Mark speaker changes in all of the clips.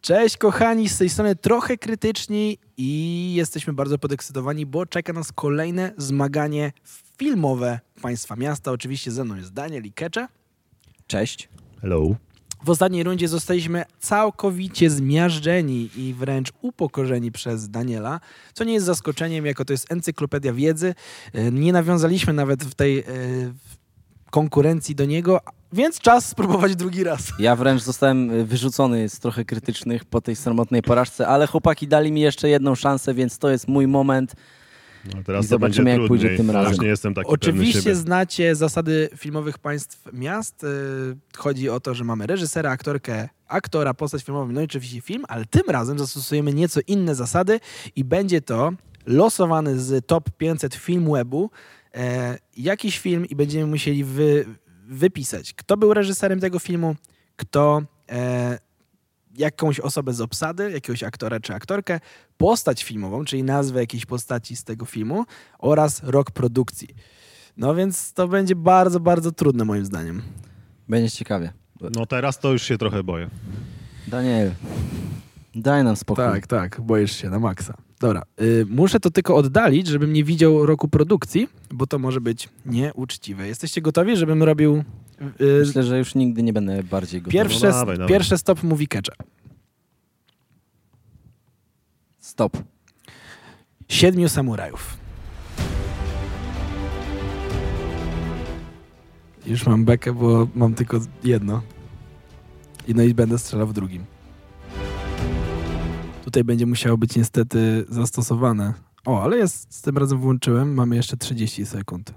Speaker 1: Cześć kochani, z tej strony trochę krytyczni i jesteśmy bardzo podekscytowani, bo czeka nas kolejne zmaganie filmowe Państwa Miasta. Oczywiście ze mną jest Daniel i Kecze.
Speaker 2: Cześć.
Speaker 3: Hello.
Speaker 1: W ostatniej rundzie zostaliśmy całkowicie zmiażdżeni i wręcz upokorzeni przez Daniela, co nie jest zaskoczeniem, jako to jest encyklopedia wiedzy. E, Nie nawiązaliśmy nawet w tej e, w konkurencji do niego, więc czas spróbować drugi raz.
Speaker 2: Ja wręcz zostałem y, wyrzucony z trochę krytycznych po tej sromotnej porażce, ale chłopaki dali mi jeszcze jedną szansę, więc to jest mój moment.
Speaker 3: No, teraz
Speaker 2: I
Speaker 3: to
Speaker 2: zobaczymy,
Speaker 3: będzie
Speaker 2: jak pójdzie
Speaker 3: trudniej.
Speaker 2: tym
Speaker 3: Teraz
Speaker 2: razem.
Speaker 3: nie jestem taki pewny
Speaker 1: Oczywiście
Speaker 3: siebie.
Speaker 1: znacie zasady filmowych państw miast. Yy, Chodzi o to, że mamy reżysera, aktorkę, aktora, postać filmową, no i oczywiście film, ale tym razem zastosujemy nieco inne zasady i będzie to losowany z top 500 film webu e, jakiś film i będziemy musieli wy, wypisać, kto był reżyserem tego filmu, kto e, jakąś osobę z obsady, jakiegoś aktora czy aktorkę, postać filmową, czyli nazwę jakiejś postaci z tego filmu oraz rok produkcji. No więc to będzie bardzo, bardzo trudne moim zdaniem.
Speaker 2: Będzie ciekawie.
Speaker 3: No teraz to już się trochę boję.
Speaker 2: Daniel, daj nam spokój.
Speaker 1: Tak, tak, boisz się na maksa. Dobra, y, muszę to tylko oddalić, żebym nie widział roku produkcji, bo to może być nieuczciwe. Jesteście gotowi, żebym robił y,
Speaker 2: Myślę, że już nigdy nie będę bardziej gotowy.
Speaker 1: pierwsze,
Speaker 3: no dawaj, dawaj.
Speaker 1: pierwsze stop movie catcha.
Speaker 2: Stop.
Speaker 1: Siedmiu samurajów. Już mam bekę, bo mam tylko jedno. I no i będę strzelał w drugim. Tutaj będzie musiało być niestety zastosowane. O, ale jest, z tym razem włączyłem. Mamy jeszcze 30 sekund.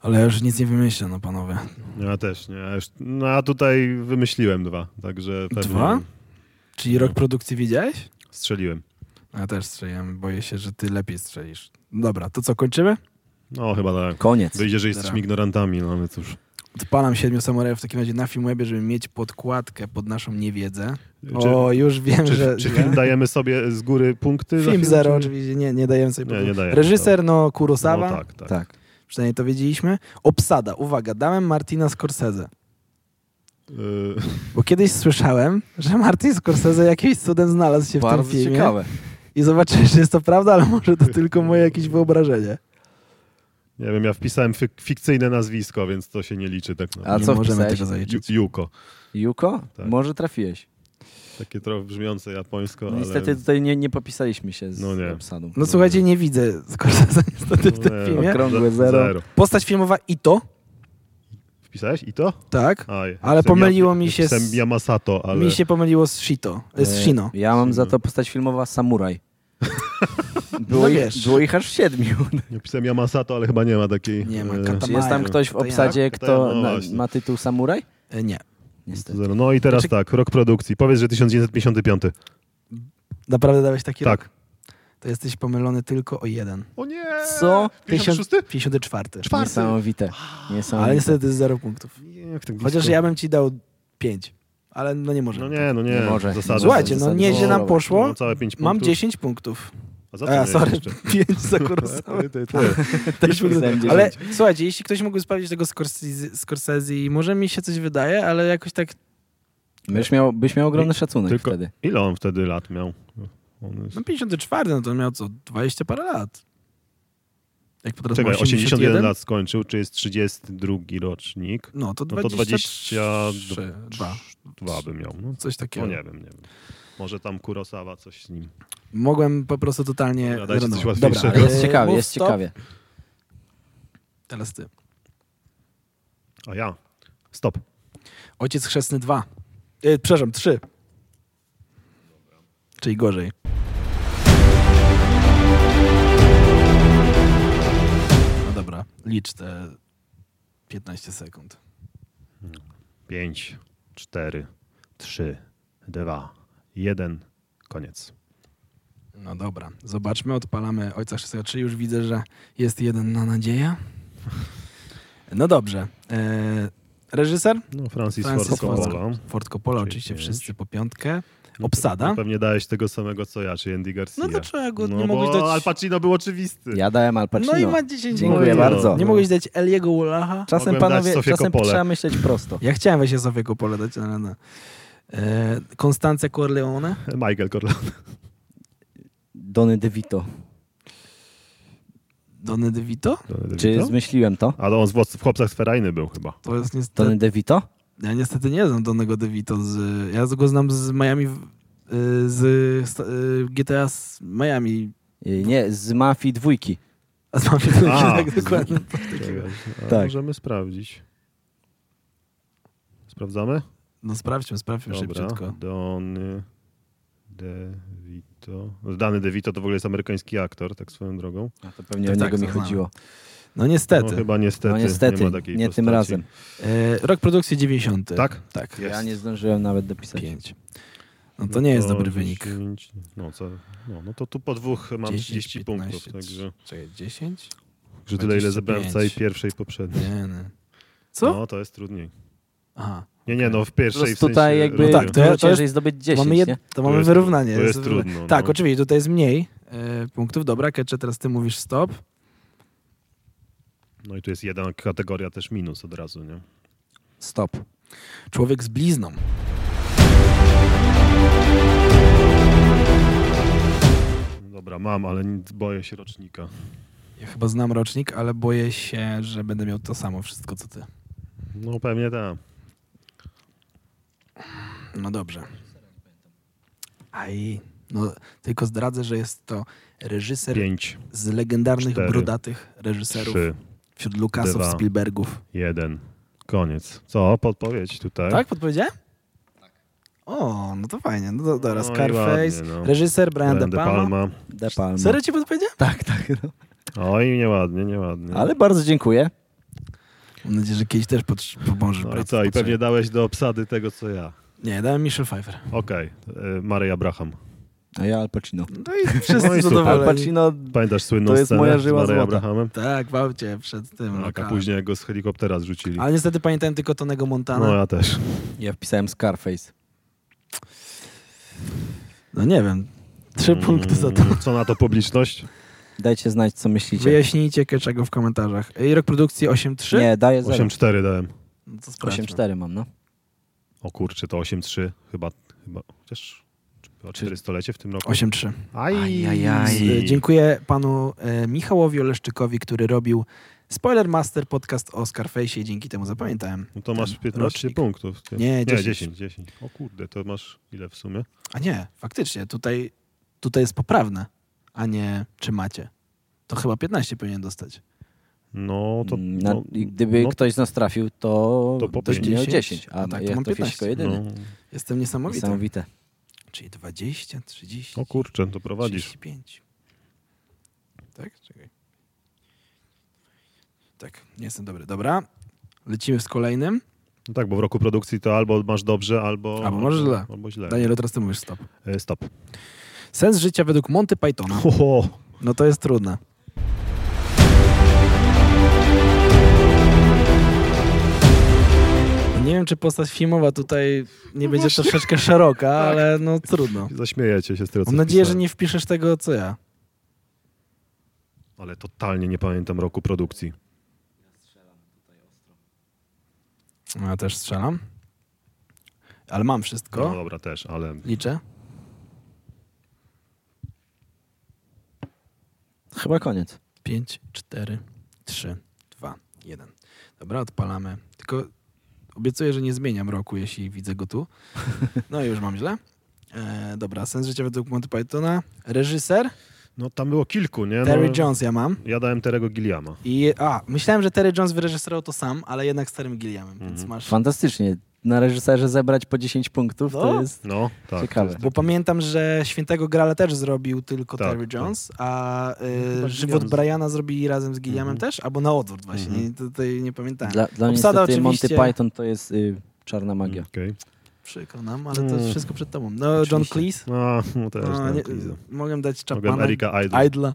Speaker 1: Ale ja już nic nie wymyślę, no panowie.
Speaker 3: Ja też, nie. Ja już, no a tutaj wymyśliłem dwa, także pewnie
Speaker 1: Dwa? Czyli
Speaker 3: No.
Speaker 1: rok produkcji widziałeś?
Speaker 3: strzeliłem.
Speaker 1: Ja też strzeliłem. Boję się, że ty lepiej strzelisz. Dobra, to co, kończymy?
Speaker 3: No chyba tak.
Speaker 2: Koniec.
Speaker 3: Wyjdzie, że jesteśmy
Speaker 1: Dobra.
Speaker 3: ignorantami, no ale cóż.
Speaker 1: Odpalam siedmiu samurajów w takim razie na Filmwebie, żeby mieć podkładkę pod naszą niewiedzę.
Speaker 3: Czy,
Speaker 1: o, już wiem,
Speaker 3: czy,
Speaker 1: że...
Speaker 3: czy
Speaker 1: że-
Speaker 3: film dajemy sobie z góry punkty? za
Speaker 1: Film zero
Speaker 3: czy-
Speaker 1: oczywiście, nie, nie dajemy sobie
Speaker 3: Nie,
Speaker 1: powodu.
Speaker 3: nie dajemy,
Speaker 1: Reżyser, no, Kurosawa,
Speaker 3: No, tak, tak.
Speaker 2: Tak.
Speaker 1: przynajmniej to wiedzieliśmy. Obsada, uwaga, dałem Martina Scorsese.
Speaker 3: Y,
Speaker 1: Bo kiedyś słyszałem, że Martin Scorsese jakimś cudem znalazł się w
Speaker 2: Bardzo
Speaker 1: tym filmie.
Speaker 2: ciekawe.
Speaker 1: I zobaczyłem, że jest to prawda, ale może to tylko moje jakieś wyobrażenie.
Speaker 3: nie wiem, ja wpisałem fik- fikcyjne nazwisko, więc to się nie liczy tak naprawdę.
Speaker 2: A
Speaker 1: nie
Speaker 2: co
Speaker 1: możemy
Speaker 2: wpisałeś?
Speaker 1: tego zaliczyć.
Speaker 3: Ju- Juko.
Speaker 2: Juko?
Speaker 3: Tak.
Speaker 2: Może trafiłeś.
Speaker 3: Takie trochę brzmiące japońsko,
Speaker 2: No,
Speaker 3: ale...
Speaker 2: Niestety tutaj nie, nie popisaliśmy się z
Speaker 3: No nie.
Speaker 2: obsadą.
Speaker 1: No słuchajcie, nie widzę Scorsese niestety w tym
Speaker 3: No Nie,
Speaker 1: filmie.
Speaker 2: Okrągłe zero.
Speaker 1: Postać filmowa Ito,
Speaker 3: Wpisałeś i to?
Speaker 1: tak?
Speaker 3: Aj,
Speaker 1: Ale
Speaker 3: wpisałem
Speaker 1: pomyliło
Speaker 3: Ja-
Speaker 1: mi się z-
Speaker 3: wpisałem Yamasato, ale...
Speaker 1: Mi się pomyliło z Shito, z
Speaker 2: E,
Speaker 1: Shino.
Speaker 2: Ja mam
Speaker 3: Shino.
Speaker 2: za to postać filmowa Samuraj. Było,
Speaker 1: No
Speaker 2: ich,
Speaker 1: wiesz.
Speaker 2: było ich aż siedmiu.
Speaker 3: Ja pisałem Yamasato, ale chyba nie ma takiej.
Speaker 1: Nie ma,
Speaker 3: e,
Speaker 1: kata-
Speaker 2: Czy jest tam
Speaker 1: Maja.
Speaker 2: ktoś w
Speaker 1: To ja.
Speaker 2: obsadzie,
Speaker 3: To
Speaker 2: kto
Speaker 3: ja, no
Speaker 2: na,
Speaker 3: właśnie.
Speaker 2: ma tytuł Samuraj?
Speaker 1: E, Nie,
Speaker 2: Niestety.
Speaker 3: zero. No i teraz
Speaker 1: Znaczy-
Speaker 3: tak, rok produkcji. Powiedz, że 1955.
Speaker 1: naprawdę dałeś taki rok?
Speaker 3: tak.
Speaker 1: To jesteś pomylony tylko o jeden.
Speaker 3: O nie!
Speaker 2: Co?
Speaker 3: 56?
Speaker 1: 54.
Speaker 3: Czwarty.
Speaker 2: Niesamowite.
Speaker 1: Ale
Speaker 2: Niesamowite.
Speaker 1: niestety jest zero punktów.
Speaker 3: Jak tak blisko.
Speaker 1: Chociaż ja bym ci dał pięć, ale no nie może.
Speaker 3: No nie, no nie.
Speaker 2: Nie może.
Speaker 3: Zasady,
Speaker 1: Słuchajcie, no
Speaker 2: Zasady
Speaker 1: nieźle nam
Speaker 2: kolorowe.
Speaker 1: poszło.
Speaker 3: No, całe 5
Speaker 1: Mam
Speaker 3: punktów.
Speaker 1: 10 punktów.
Speaker 3: A za co
Speaker 1: A,
Speaker 3: nie
Speaker 1: sorry,
Speaker 3: jeszcze?
Speaker 1: 5 za Kurosawa.
Speaker 3: Ty, ty, ty.
Speaker 1: Też bym-
Speaker 2: pisałem 10.
Speaker 1: Ale słuchajcie, jeśli ktoś mógłby sprawdzić tego Scorsese, Scorsese, może mi się coś wydaje, ale jakoś tak
Speaker 2: Byś miał, byś miał ogromny szacunek
Speaker 3: Tylko-
Speaker 2: wtedy.
Speaker 3: Ile on No wtedy lat miał? On jest...
Speaker 1: No 54, no to miał co, 20 parę lat. Jak potrafił
Speaker 3: Czekaj, 81 lat skończył, czy jest 32 rocznik?
Speaker 1: No to
Speaker 3: No to
Speaker 1: 23,
Speaker 3: 22.
Speaker 1: dwa,
Speaker 3: Dwa by miał. No,
Speaker 1: coś
Speaker 3: no
Speaker 1: takiego.
Speaker 3: nie wiem, nie wiem. Może tam Kurosawa coś z nim.
Speaker 1: Mogłem po prostu totalnie...
Speaker 3: Dobra, dajcie coś
Speaker 1: zrenować.
Speaker 3: łatwiejszego.
Speaker 1: Dobra,
Speaker 2: Jest
Speaker 1: e,
Speaker 2: ciekawie,
Speaker 1: mów
Speaker 2: jest
Speaker 1: stop.
Speaker 2: ciekawie.
Speaker 1: Teraz ty.
Speaker 3: A ja. Stop.
Speaker 1: Ojciec chrzestny 2. E, przepraszam, 3. Czyli gorzej. No dobra, licz te 15 sekund.
Speaker 3: 5, 4, 3, 2, 1. Koniec.
Speaker 1: No dobra, zobaczmy, odpalamy Ojca 63. Już widzę, że jest jeden na nadzieja. No dobrze. E, reżyser?
Speaker 3: No, Francis,
Speaker 1: Francis
Speaker 3: Ford Coppola.
Speaker 1: Ford Ford Coppola,
Speaker 3: Czyli
Speaker 1: oczywiście
Speaker 3: pięć.
Speaker 1: wszyscy po piątkę.
Speaker 3: No,
Speaker 1: Obsada?
Speaker 3: pe- Pewnie dałeś tego samego co ja, czy Andy Garcia.
Speaker 1: No dlaczego
Speaker 3: No,
Speaker 1: nie mogłeś
Speaker 3: bo
Speaker 1: dać...
Speaker 3: Al Pacino był oczywisty.
Speaker 2: Ja dałem Al Pacino.
Speaker 1: No i ma 10
Speaker 2: Dziękuję
Speaker 1: punktów.
Speaker 2: bardzo.
Speaker 1: Nie mogłeś dać Eliego Ulaha?
Speaker 2: Czasem
Speaker 3: Mogłem dać
Speaker 2: panowie,
Speaker 3: Sofię
Speaker 2: czasem
Speaker 3: Coppolę.
Speaker 2: trzeba myśleć prosto.
Speaker 1: Ja chciałem właśnie sobie Coppolę dać, ale no. E, Konstance Corleone.
Speaker 3: Michael Corleone.
Speaker 2: Donny DeVito.
Speaker 1: Donny DeVito?
Speaker 3: Johnny
Speaker 2: Czy
Speaker 3: DeVito?
Speaker 2: zmyśliłem to?
Speaker 3: Ale on w, w Chłopcach z Ferajny był chyba.
Speaker 1: To jest niestety...
Speaker 2: Donny
Speaker 3: Tak.
Speaker 2: DeVito?
Speaker 1: Ja niestety nie znam Donnego DeVito. Z... Ja go znam z Miami... w- y, Z sta- y, GTA z Miami.
Speaker 2: Y, Nie, z Mafii dwójki.
Speaker 1: A z Mafii
Speaker 3: A.
Speaker 1: tak dokładnie.
Speaker 3: A
Speaker 2: Tak.
Speaker 3: Możemy sprawdzić. Sprawdzamy?
Speaker 1: No sprawdźmy, sprawdźmy szybciutko.
Speaker 3: Donny DeVito. Dany DeVito to w ogóle jest amerykański aktor, tak swoją drogą.
Speaker 2: A No to pewnie
Speaker 1: Tak,
Speaker 2: o
Speaker 1: tak,
Speaker 2: niego mi
Speaker 1: to znam.
Speaker 2: chodziło.
Speaker 1: No
Speaker 3: No,
Speaker 1: niestety.
Speaker 3: chyba niestety,
Speaker 2: No niestety,
Speaker 3: nie
Speaker 2: nie,
Speaker 3: ma takiej
Speaker 2: tym
Speaker 3: postaci.
Speaker 2: razem.
Speaker 1: E, Rok produkcji 90.
Speaker 3: Tak?
Speaker 1: Tak.
Speaker 3: Jest.
Speaker 2: Ja nie zdążyłem nawet dopisać.
Speaker 1: 5. No to nie jest dobry wynik.
Speaker 3: 10, No, co, no, no to tu po dwóch mam
Speaker 1: 10,
Speaker 3: 30 punktów,
Speaker 1: 15,
Speaker 3: także
Speaker 1: Czekaj, 10?
Speaker 3: że tyle ile
Speaker 1: 25.
Speaker 3: zebrałem w całej pierwszej poprzedniej.
Speaker 1: Nie, nie. Co?
Speaker 3: No, to jest trudniej.
Speaker 1: Aha.
Speaker 3: Nie, nie, no w pierwszej
Speaker 2: Po
Speaker 3: w
Speaker 2: prostu
Speaker 3: sensie
Speaker 2: tutaj jakby
Speaker 1: No
Speaker 3: rundy.
Speaker 1: tak,
Speaker 2: tak,
Speaker 1: to- to
Speaker 2: ciężej zdobyć 10,
Speaker 1: mamy
Speaker 2: nie?
Speaker 1: To mamy
Speaker 3: jest
Speaker 1: wyrównanie.
Speaker 3: trudno, to jest
Speaker 1: wyrównanie.
Speaker 3: trudno,
Speaker 1: Tak,
Speaker 3: no.
Speaker 1: oczywiście, tutaj jest mniej e, punktów. Dobra, Kecze, teraz ty mówisz stop.
Speaker 3: No i tu jest jedna kategoria też minus od razu, nie?
Speaker 2: Stop.
Speaker 1: Człowiek z blizną.
Speaker 3: Dobra, mam, ale nic- boję się rocznika.
Speaker 1: Ja chyba znam rocznik, ale boję się, że będę miał to samo wszystko, co ty.
Speaker 3: No pewnie tak.
Speaker 1: No dobrze. Aj. No, tylko zdradzę, że jest to reżyser
Speaker 3: Pięć,
Speaker 1: z legendarnych,
Speaker 3: Cztery.
Speaker 1: brudatych reżyserów
Speaker 3: trzy,
Speaker 1: wśród Lukasów,
Speaker 3: Dwa.
Speaker 1: Spielbergów.
Speaker 3: jeden. Koniec. Co? Podpowiedź tutaj.
Speaker 1: Tak, podpowiedziałem? Tak. O, no to fajnie. No to, dobra,
Speaker 3: No i
Speaker 1: Scarface,
Speaker 3: ładnie, no.
Speaker 1: reżyser Brian De
Speaker 3: Brian De
Speaker 1: Palma.
Speaker 3: Palma.
Speaker 2: De Palma.
Speaker 1: Serio ci podpowiedziałem?
Speaker 2: Tak, tak. No.
Speaker 3: Oj, nieładnie, nieładnie.
Speaker 2: Ale bardzo dziękuję.
Speaker 1: Mam nadzieję, że kiedyś też pod- pomożesz.
Speaker 3: No i
Speaker 1: brat,
Speaker 3: co? I
Speaker 1: potrzebie.
Speaker 3: pewnie dałeś do obsady tego, co ja.
Speaker 1: Nie, dałem Michelle Pfeiffer.
Speaker 3: Okej, okay. Mary Abraham.
Speaker 2: A ja Al Pacino.
Speaker 1: No i wszyscy
Speaker 3: No i super.
Speaker 2: Al
Speaker 1: zadowoleni.
Speaker 2: Pacino,
Speaker 3: Pamiętasz słynną
Speaker 2: To jest
Speaker 3: scenę
Speaker 2: moja
Speaker 3: z
Speaker 2: żyła
Speaker 3: Mary
Speaker 2: złota. No
Speaker 3: Abrahamem?
Speaker 1: Tak, bał cię przed tym.
Speaker 3: Tak, a
Speaker 1: lokalem.
Speaker 3: później jak go z helikoptera zrzucili.
Speaker 1: Ale niestety pamiętałem tylko Tonego Montana.
Speaker 3: No
Speaker 1: No,
Speaker 3: ja też.
Speaker 2: ja wpisałem Scarface.
Speaker 1: No nie wiem. Trzy
Speaker 3: Mm,
Speaker 1: punkty za to.
Speaker 3: Co na to publiczność?
Speaker 2: Dajcie znać, co myślicie.
Speaker 1: Wyjaśnijcie Keczego w komentarzach. I rok produkcji 8.3?
Speaker 2: Nie, daję 0.
Speaker 3: 8-4 dałem.
Speaker 1: No to sprawdźmy.
Speaker 2: 8-4 mam, no.
Speaker 3: O kurczę, to 8-3 chyba, chyba chociaż o 400-lecie w tym roku.
Speaker 1: 8.3.
Speaker 3: Aj,
Speaker 2: Ajajaj.
Speaker 1: Z- Dziękuję panu e, Michałowi Oleszczykowi, który robił Spoiler Master podcast o Scarface i dzięki temu zapamiętałem.
Speaker 3: No to masz
Speaker 1: Ten
Speaker 3: 15
Speaker 1: rocznik.
Speaker 3: punktów. Ty.
Speaker 1: Nie, 10.
Speaker 3: 10, 10. O kurde, to masz ile w sumie?
Speaker 1: A nie, faktycznie, tutaj, tutaj jest poprawne, a nie czy macie. To chyba 15 powinien dostać.
Speaker 3: No to...
Speaker 2: Mm, Na,
Speaker 3: no,
Speaker 2: I gdyby
Speaker 3: no,
Speaker 2: ktoś z nas trafił, to,
Speaker 3: To po
Speaker 2: to byś
Speaker 1: 10.
Speaker 2: miał 10, a
Speaker 1: No tak,
Speaker 2: tak,
Speaker 1: to
Speaker 2: ja
Speaker 1: mam
Speaker 2: trafię
Speaker 1: 15.
Speaker 2: tylko jedyny.
Speaker 3: no,
Speaker 1: Jestem niesamowity.
Speaker 2: Niesamowite.
Speaker 1: Czyli 20, 30,
Speaker 3: O kurczę, to prowadzisz.
Speaker 1: 35. Tak? Czekaj. Tak, nie jestem dobry. Dobra, lecimy z kolejnym.
Speaker 3: No tak, bo w roku produkcji to albo masz dobrze, albo...
Speaker 1: Albo masz źle.
Speaker 3: Albo źle.
Speaker 1: Danielu, teraz ty mówisz stop.
Speaker 3: E, Stop.
Speaker 1: Sens życia według Monty Pythona.
Speaker 3: Ho, ho.
Speaker 1: No to jest trudne. Nie wiem, czy postać filmowa tutaj nie będzie troszeczkę szeroka, ale no trudno.
Speaker 3: Zaśmiejecie się z tego, co
Speaker 1: Mam nadzieję, że
Speaker 3: wpisałem.
Speaker 1: nie wpiszesz tego, co ja.
Speaker 3: Ale totalnie nie pamiętam roku produkcji.
Speaker 1: Ja też strzelam. Ale mam
Speaker 3: No
Speaker 1: wszystko.
Speaker 3: dobra, też, ale...
Speaker 1: Liczę.
Speaker 2: Chyba koniec.
Speaker 1: 5, 4, 3, 2, 1. Dobra, odpalamy. Tylko obiecuję, że nie zmieniam roku, jeśli widzę go tu. No i już mam źle. E, dobra, sens życia według Monty Pythona. Reżyser
Speaker 3: No tam było kilku, nie?
Speaker 1: Terry
Speaker 3: no,
Speaker 1: Jones ja mam.
Speaker 3: Ja dałem Terego Gilliama.
Speaker 1: I, a, myślałem, że Terry Jones wyreżyserował to sam, ale jednak z Terrym Gilliamem, więc
Speaker 3: Mhm.
Speaker 1: masz...
Speaker 2: Fantastycznie. Na reżyserze zebrać po 10 punktów
Speaker 1: No.
Speaker 2: to jest
Speaker 3: No, tak.
Speaker 2: ciekawe.
Speaker 1: Bo pamiętam, że Świętego Grala też zrobił tylko
Speaker 3: Tak,
Speaker 1: Terry
Speaker 3: tak.
Speaker 1: Jones, a y,
Speaker 3: Gilliam
Speaker 1: Żywot
Speaker 3: z-
Speaker 1: Briana zrobili razem z Gilliamem
Speaker 3: Mhm.
Speaker 1: też, albo na odwrót właśnie,
Speaker 3: Mhm.
Speaker 1: nie, tutaj nie pamiętałem.
Speaker 2: Dla, dla mnie
Speaker 1: tak. Obsada
Speaker 2: niestety Monty
Speaker 1: oczywiście-
Speaker 2: Python to jest y, czarna magia.
Speaker 3: Okej.
Speaker 1: Przykro nam, ale to jest
Speaker 3: Mm.
Speaker 1: wszystko przed tobą. No, John
Speaker 2: Oczywiście.
Speaker 1: Cleese.
Speaker 3: No, no też
Speaker 1: No,
Speaker 3: dałem
Speaker 1: nie,
Speaker 3: Cleese'a.
Speaker 1: mogę dać
Speaker 3: Mogłem
Speaker 1: Chapmana,
Speaker 3: Erika Idle.
Speaker 1: Idla.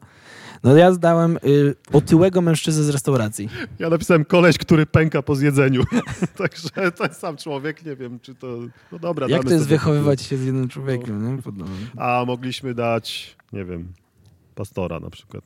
Speaker 1: No ja zdałem y, otyłego mężczyzny z restauracji.
Speaker 3: Ja napisałem koleś, który pęka po zjedzeniu. Także ten sam człowiek, nie wiem, czy to... No dobra,
Speaker 1: Jak
Speaker 3: damy
Speaker 1: to jest
Speaker 3: sobie- No.
Speaker 1: wychowywać się z jednym człowiekiem, nie? no. Podobno.
Speaker 3: A mogliśmy dać, nie wiem, pastora na przykład.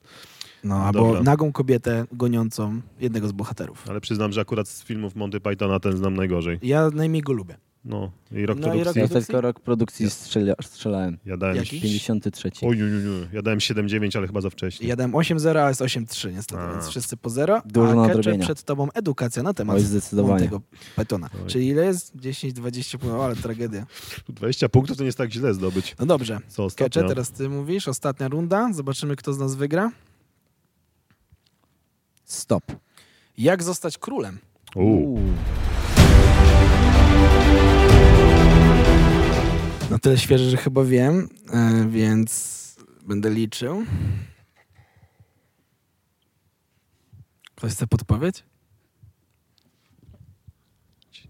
Speaker 1: No, albo
Speaker 3: Dobra.
Speaker 1: nagą kobietę goniącą jednego z bohaterów.
Speaker 3: Ale przyznam, że akurat z filmów Monty Pythona ten znam najgorzej.
Speaker 1: Ja najmniej go lubię.
Speaker 3: No, i rok
Speaker 1: No i
Speaker 3: produkcji.
Speaker 2: Ja
Speaker 1: rok-
Speaker 2: tylko rok produkcji strzela, strzelałem.
Speaker 3: Ja dałem...
Speaker 1: Jaki?
Speaker 2: 53.
Speaker 3: Oj, oj, oj, oj, ja dałem 7,9, ale chyba za wcześnie.
Speaker 1: Ja dałem 8-0, a jest 8-3 niestety,
Speaker 3: A.
Speaker 1: więc wszyscy po 0.
Speaker 2: Dużo
Speaker 1: a
Speaker 2: nadrobienia.
Speaker 1: przed tobą edukacja na temat
Speaker 2: Oj, zdecydowanie.
Speaker 1: tego betona.
Speaker 3: Oj.
Speaker 1: Czyli ile jest? 10, 20 punktów, no, ale tragedia.
Speaker 3: Tu 20 punktów to nie jest tak źle zdobyć.
Speaker 1: No dobrze.
Speaker 3: Co
Speaker 1: Kecze,
Speaker 3: ostatnio?
Speaker 1: teraz ty mówisz, ostatnia runda, zobaczymy kto z nas wygra.
Speaker 2: Stop.
Speaker 1: Jak zostać królem?
Speaker 3: U,
Speaker 2: Uuu.
Speaker 1: No tyle świeże, że chyba wiem, e, więc będę liczył. Ktoś chce podpowiedź?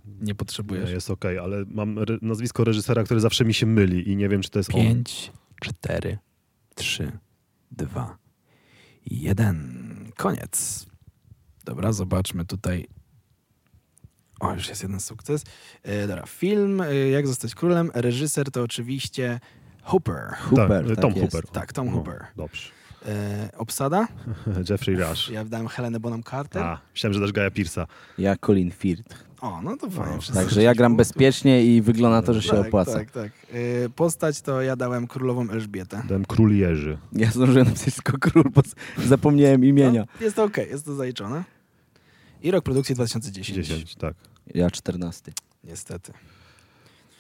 Speaker 1: Nie
Speaker 3: nie,
Speaker 1: potrzebujesz.
Speaker 3: jest okej, ale mam re- nazwisko reżysera, które zawsze mi się myli i nie wiem, czy to jest on.
Speaker 1: 5, 4, 3, 2, 1. Koniec. Dobra, zobaczmy tutaj. O, już jest jeden sukces. E, dobra, film e, Jak zostać królem. Reżyser to oczywiście Hooper.
Speaker 2: Hooper,
Speaker 3: tak,
Speaker 2: tak
Speaker 3: Tom
Speaker 2: jest.
Speaker 3: Hooper.
Speaker 1: Tak, Tom
Speaker 3: No,
Speaker 1: Hooper.
Speaker 3: Dobrze.
Speaker 1: E, obsada?
Speaker 3: Jeffrey Rush.
Speaker 1: Ja wdałem Helenę Bonham Carter.
Speaker 2: Tak.
Speaker 3: A, myślałem, że dasz Gaja Pierce'a.
Speaker 2: Ja Colin Firth.
Speaker 1: O, no to fajnie.
Speaker 3: No,
Speaker 1: wszyscy
Speaker 2: Także ja gram
Speaker 1: jesteśmy w
Speaker 2: bezpiecznie i wygląda to, że
Speaker 1: łóżku.
Speaker 2: się opłaca.
Speaker 1: Tak, tak. tak. E, postać to ja dałem Królową Elżbietę.
Speaker 3: Dałem Król Jerzy.
Speaker 2: Ja zdążyłem napisać tylko król, bo zapomniałem imienia.
Speaker 1: No, jest to okej, jest to zaliczone. I rok produkcji 2010.
Speaker 3: 10, tak.
Speaker 2: Ja 14.
Speaker 1: Niestety.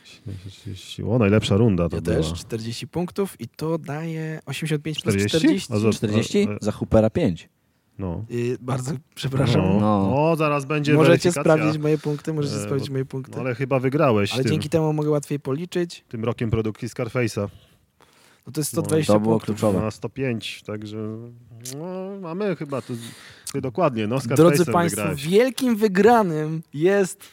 Speaker 3: 40. O, najlepsza runda to
Speaker 1: Ja
Speaker 3: była.
Speaker 1: też 40 punktów i to daje 85 plus
Speaker 3: 40?
Speaker 1: 40.
Speaker 3: A za-
Speaker 2: 40?
Speaker 3: a- a-
Speaker 2: Za Hoopera 5.
Speaker 3: No.
Speaker 1: Y, bardzo przepraszam.
Speaker 3: No.
Speaker 2: No.
Speaker 3: O, zaraz będzie
Speaker 1: możecie
Speaker 3: weryfikacja.
Speaker 1: sprawdzić moje punkty, możecie
Speaker 3: E, bo-
Speaker 1: sprawdzić moje punkty.
Speaker 3: No,
Speaker 1: ale
Speaker 3: ale chyba wygrałeś tym,
Speaker 1: dzięki temu mogę łatwiej policzyć.
Speaker 3: tym rokiem produkcji Scarface'a.
Speaker 1: No to jest
Speaker 3: No,
Speaker 1: 120
Speaker 2: To było
Speaker 1: punktów.
Speaker 2: kluczowe.
Speaker 3: Na 105, także no, mamy chyba tu ty dokładnie, no
Speaker 1: Drodzy
Speaker 3: Scarface'em
Speaker 1: Państwo,
Speaker 3: wygrałeś.
Speaker 1: wielkim wygranym jest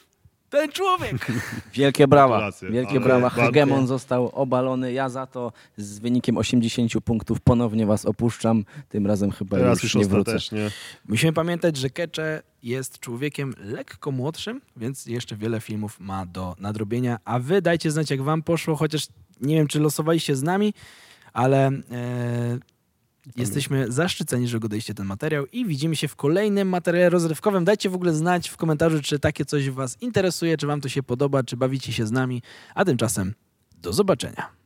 Speaker 1: ten człowiek.
Speaker 2: Wielkie brawa.
Speaker 3: Gratulacje.
Speaker 2: Wielkie
Speaker 3: Ale
Speaker 2: brawa.
Speaker 3: bardzo-
Speaker 2: Hegemon został obalony. Ja za to z wynikiem 80 punktów ponownie was opuszczam. Tym razem chyba
Speaker 3: Teraz
Speaker 2: już
Speaker 3: już
Speaker 2: nie wrócę.
Speaker 3: ostatecznie.
Speaker 1: Musimy pamiętać, że Kecze jest człowiekiem lekko młodszym, więc jeszcze wiele filmów ma do nadrobienia. A wy dajcie znać, jak wam poszło, chociaż nie wiem, czy losowaliście z nami, ale e, jesteśmy zaszczyceni, że oglądaliście ten materiał i widzimy się w kolejnym materiale rozrywkowym. Dajcie w ogóle znać w komentarzu, czy takie coś was interesuje, czy wam to się podoba, czy bawicie się z nami. A tymczasem do zobaczenia.